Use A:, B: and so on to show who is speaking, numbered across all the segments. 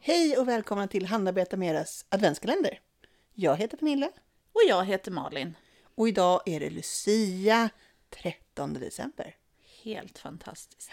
A: Hej och välkomna till Hanna berättar meras adventskalender. Jag heter Pernilla
B: Och jag heter Malin.
A: och idag är det Lucia 13 december.
B: Helt fantastiskt.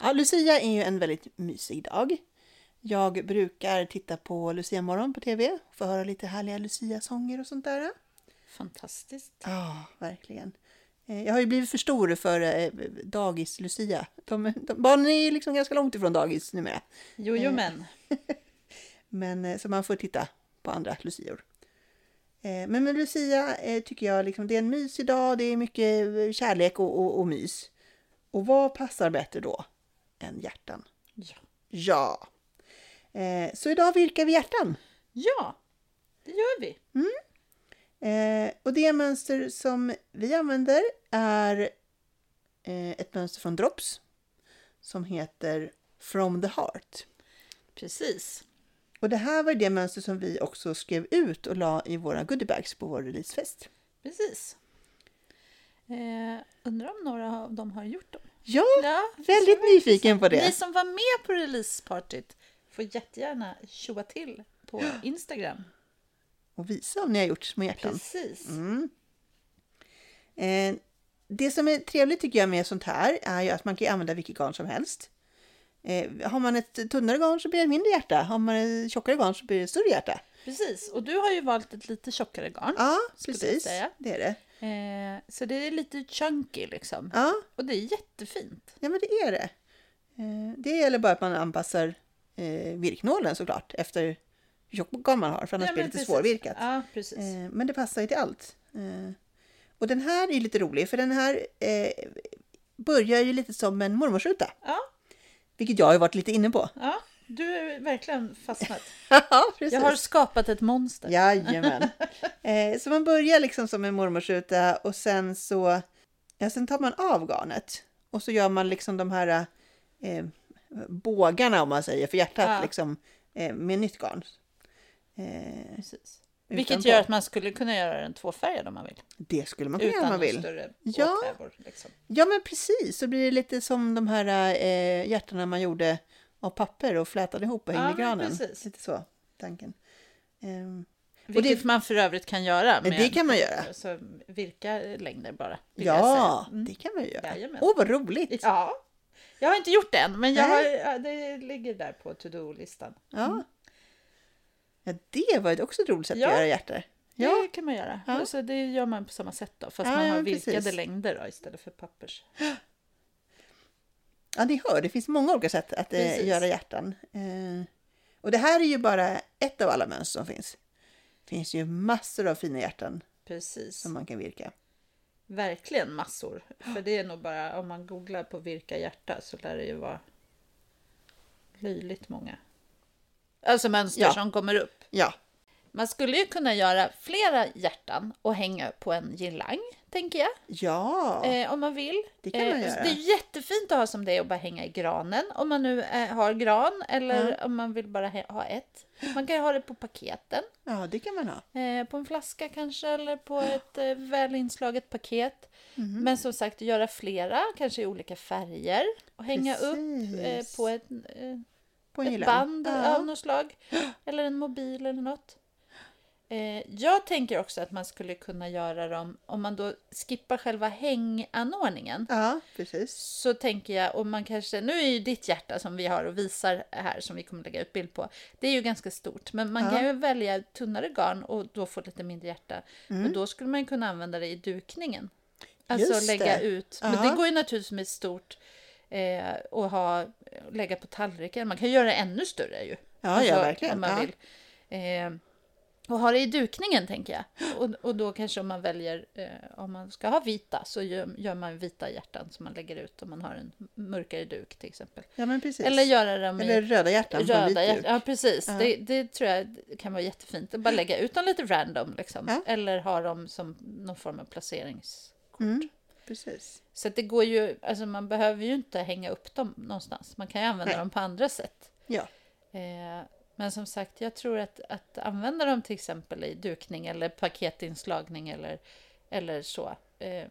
A: Ja, Lucia är ju en väldigt mysig dag. Jag brukar titta på Lucia morgon på tv och få höra lite härliga Lucia-sånger och sånt där.
B: Fantastiskt.
A: Ja, verkligen. Eh, Jag har ju blivit för stor för eh, dagis-Lucia. De, de, barnen är ju liksom ganska långt ifrån dagis numera.
B: Jo,
A: Mm.
B: jo, men.
A: Men eh, så man får titta på andra lucior. Eh, Men med Lucia eh, tycker jag liksom, det är en mysig dag, det är mycket eh, kärlek och, och, och mys. Och vad passar bättre då än hjärtan?
B: Ja.
A: Ja! Eh, Så idag virkar vi hjärtan.
B: ja, det gör vi.
A: Eh, Och det mönster som vi använder är eh, ett mönster från Drops som heter From the Heart.
B: Precis.
A: Och det här var det mönster som vi också skrev ut och la i våra goodiebags på vår releasefest.
B: Precis. Eh, undrar om några av dem har gjort dem?
A: Ja,
B: Ja, det skulle
A: väldigt
B: vara
A: nyfiken på
B: Ni
A: det.
B: som var med på releasepartyt får jättegärna tjoa till på Instagram.
A: Och visa om ni har gjort små hjärtan.
B: Precis.
A: Mm. Eh, det som är trevligt tycker jag med sånt här är ju att man kan använda vilket garn som helst. Eh, har man ett tunnare garn så blir det ett mindre hjärta. Har man ett tjockare garn så blir det ett större hjärta.
B: Precis. Och du har ju valt ett lite tjockare garn.
A: Ja,
B: Skulle jag
A: precis.
B: säga.
A: Det är det.
B: Eh, så det är lite chunky liksom.
A: Ja,
B: Och det är jättefint.
A: ja men det är det. Eh, det gäller bara att man anpassar eh, virknålen såklart efter hur tjockt garn man har. För annars
B: Ja,
A: blir det
B: men
A: lite
B: precis.
A: svårvirkat.
B: Ja, precis.
A: Eh, men det passar ju till allt. Eh, och den här är lite rolig för den här eh, börjar ju lite som en mormorsruta.
B: Ja,
A: Vilket jag har ju varit lite inne på.
B: ja, du är verkligen fastnat.
A: ja, precis.
B: Jag har skapat ett monster.
A: Jajamän. Eh, så man börjar liksom som en mormorsruta och sen så ja, sen tar man av garnet. Och så gör man liksom de här eh, bågarna om man säger för hjärtat
B: Ja.
A: liksom eh, med nytt garn. Eh,
B: Precis. Vilket
A: utanpå.
B: gör att man skulle kunna göra den tvåfärgad om man vill.
A: det skulle man kunna göra
B: Utan
A: om man
B: någon
A: vill.
B: större
A: Ja.
B: åthävor. Liksom.
A: Ja men precis, så blir det lite som de här eh, hjärtarna man gjorde av papper och flätade ihop och
B: Ja,
A: hängde i
B: men
A: granen.
B: precis.
A: Lite så, tanken. Ehm,
B: Vilket man för övrigt kan göra.
A: det kan man göra.
B: Så virka längder bara. vill jag
A: ja,
B: säga. Mm.
A: det kan man ju göra.
B: Jajamän. Mm.
A: Åh vad roligt!
B: ja. Jag har inte gjort det än, men jag har,
A: Nej.
B: ja, det ligger där på to-do-listan.
A: Ja. ja, det var ett också ett roligt sätt
B: Ja.
A: att göra hjärtar. Ja.
B: Det kan man göra.
A: Ja.
B: Och så det gör man på samma sätt då, fast
A: Ja,
B: man har
A: ja,
B: virkade
A: precis.
B: längder då, istället för pappers.
A: ja, ni hör, det finns många olika sätt att eh,
B: Precis.
A: göra hjärtan. Eh, och det här är ju bara ett av alla mönster som finns. Det finns ju massor av fina hjärtan
B: Precis.
A: som man kan virka.
B: Verkligen massor. För det är nog bara, om man googlar på virka hjärta så lär det ju vara löjligt många. Alltså mönster
A: Ja.
B: som kommer upp.
A: Ja,
B: Man skulle ju kunna göra flera hjärtan och hänga på en girlang, tänker jag.
A: ja.
B: Eh, om man vill.
A: Det kan man
B: Eh,
A: göra.
B: Det är jättefint att ha som det är att bara hänga i granen. Om man nu eh, har gran eller om man vill bara he- ha ett. Man kan ju ha det på paketen.
A: ja, det kan man ha.
B: Eh, på en flaska kanske eller på ett eh, väl inslaget paket.
A: Mhm.
B: Men som sagt, göra flera, kanske i olika färger. Och hänga upp eh,
A: Precis.
B: på ett, eh,
A: På en
B: ett
A: gillan.
B: band
A: Ja.
B: av något slag. Eller en mobil eller något. Eh, jag tänker också att man skulle kunna göra dem, om man då skippar själva hänganordningen.
A: Ja, precis.
B: Så tänker jag, och man kanske, nu är ju ditt hjärta som vi har och visar här som vi kommer lägga ut bild på, det är ju ganska stort. Men man
A: Ja.
B: kan ju välja tunnare garn och då få lite mindre hjärta. Och då skulle man ju kunna använda det i dukningen. Alltså
A: Mm. Just
B: lägga
A: det.
B: ut.
A: Ja.
B: Men det går ju naturligtvis med stort eh, och ha, lägga på tallriken. Alltså, Man kan göra det ännu större ju.
A: Ja, ja, verkligen.
B: Om man
A: Ja.
B: vill. Eh, Och ha det i dukningen tänker jag. Och, och då kanske om man väljer, eh, om man ska ha vita så gör, gör man vita hjärtan som man lägger ut om man har en mörkare duk till exempel.
A: Ja, men precis.
B: Eller göra dem
A: Eller
B: i
A: röda hjärtan på en vit
B: röda
A: duk.
B: hjärtan. Ja precis,
A: Ja.
B: Det, det tror jag kan vara jättefint. Att bara lägga ut dem lite random liksom.
A: Ja.
B: Eller ha dem som någon form av placerings...
A: Mm, precis.
B: Så att det går ju, alltså man behöver ju inte hänga upp dem någonstans. Man kan ju använda
A: Nej.
B: dem på andra sätt.
A: Ja.
B: Eh, men som sagt, jag tror att, att använda dem till exempel i dukning eller paketinslagning eller, eller så. Eh,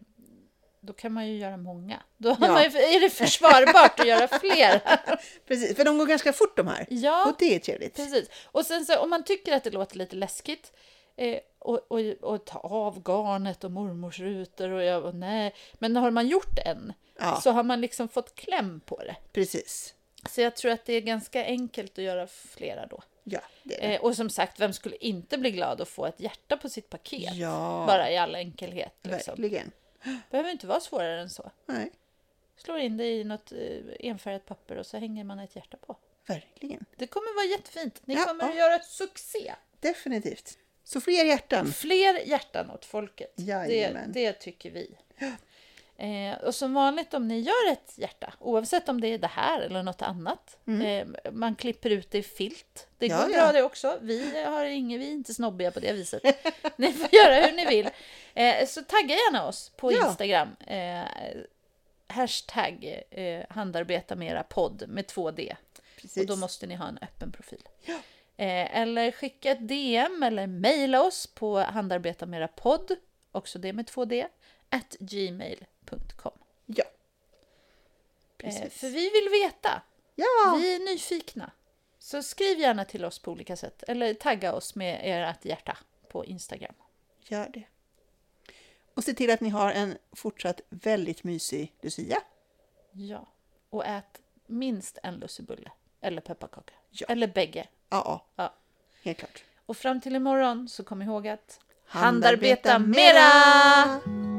B: då kan man ju göra många. Då har
A: Ja.
B: man ju, är det försvarbart att göra fler.
A: precis. För de går ganska fort de här.
B: Ja,
A: Och det är trevligt.
B: precis. Och sen så om man tycker att det låter lite läskigt eh, och, och, och ta av garnet och mormors rutor och, jag, och nej. Men har man gjort en
A: Ja,
B: så har man liksom fått kläm på det.
A: precis.
B: Så jag tror att det är ganska enkelt att göra flera då.
A: Ja, det är det.
B: Eh, och som sagt, vem skulle inte bli glad att få ett hjärta på sitt paket?
A: ja,
B: Eh, Bara i all enkelhet. Liksom.
A: verkligen.
B: behöver inte vara svårare än så.
A: Nej,
B: Slår in det i något eh, enfärgat papper och så hänger man ett hjärta på.
A: verkligen.
B: Det kommer vara jättefint. Ni
A: Ja,
B: kommer
A: ja.
B: att göra succé.
A: Definitivt. Så fler hjärtan.
B: Fler hjärtan åt folket. Det,
A: Jajamän.
B: det tycker vi. Eh, och som vanligt om ni gör ett hjärta, oavsett om det är det här eller något annat. Eh, man klipper ut det i filt. Det
A: Mm. Ja,
B: går
A: ja.
B: bra det också. Vi, har inga, vi är inte snobbiga på det viset. ni får göra hur ni vill. Eh, så tagga gärna oss på
A: Ja.
B: Instagram. Eh, hashtag eh, handarbeta med era podd med två D.
A: Precis.
B: Och då måste ni ha en öppen profil. Eh, eller skicka ett DM eller mejla oss på handarbetamerapodd, också det med 2D, at gmail.com.
A: Ja.
B: Eh,
A: Precis.
B: för vi vill veta,
A: Ja,
B: vi är nyfikna. Så skriv gärna till oss på olika sätt, eller tagga oss med ert hjärta på Instagram.
A: gör det. Och se till att ni har en fortsatt väldigt mysig Lucia.
B: Ja. Och ät minst en lussebulle, eller pepparkaka,
A: Ja.
B: eller bägge.
A: Ja,
B: Ja.
A: helt klart.
B: Och fram till imorgon så kom ihåg att
A: Handarbeta
B: handarbeta
A: mera!
B: mera!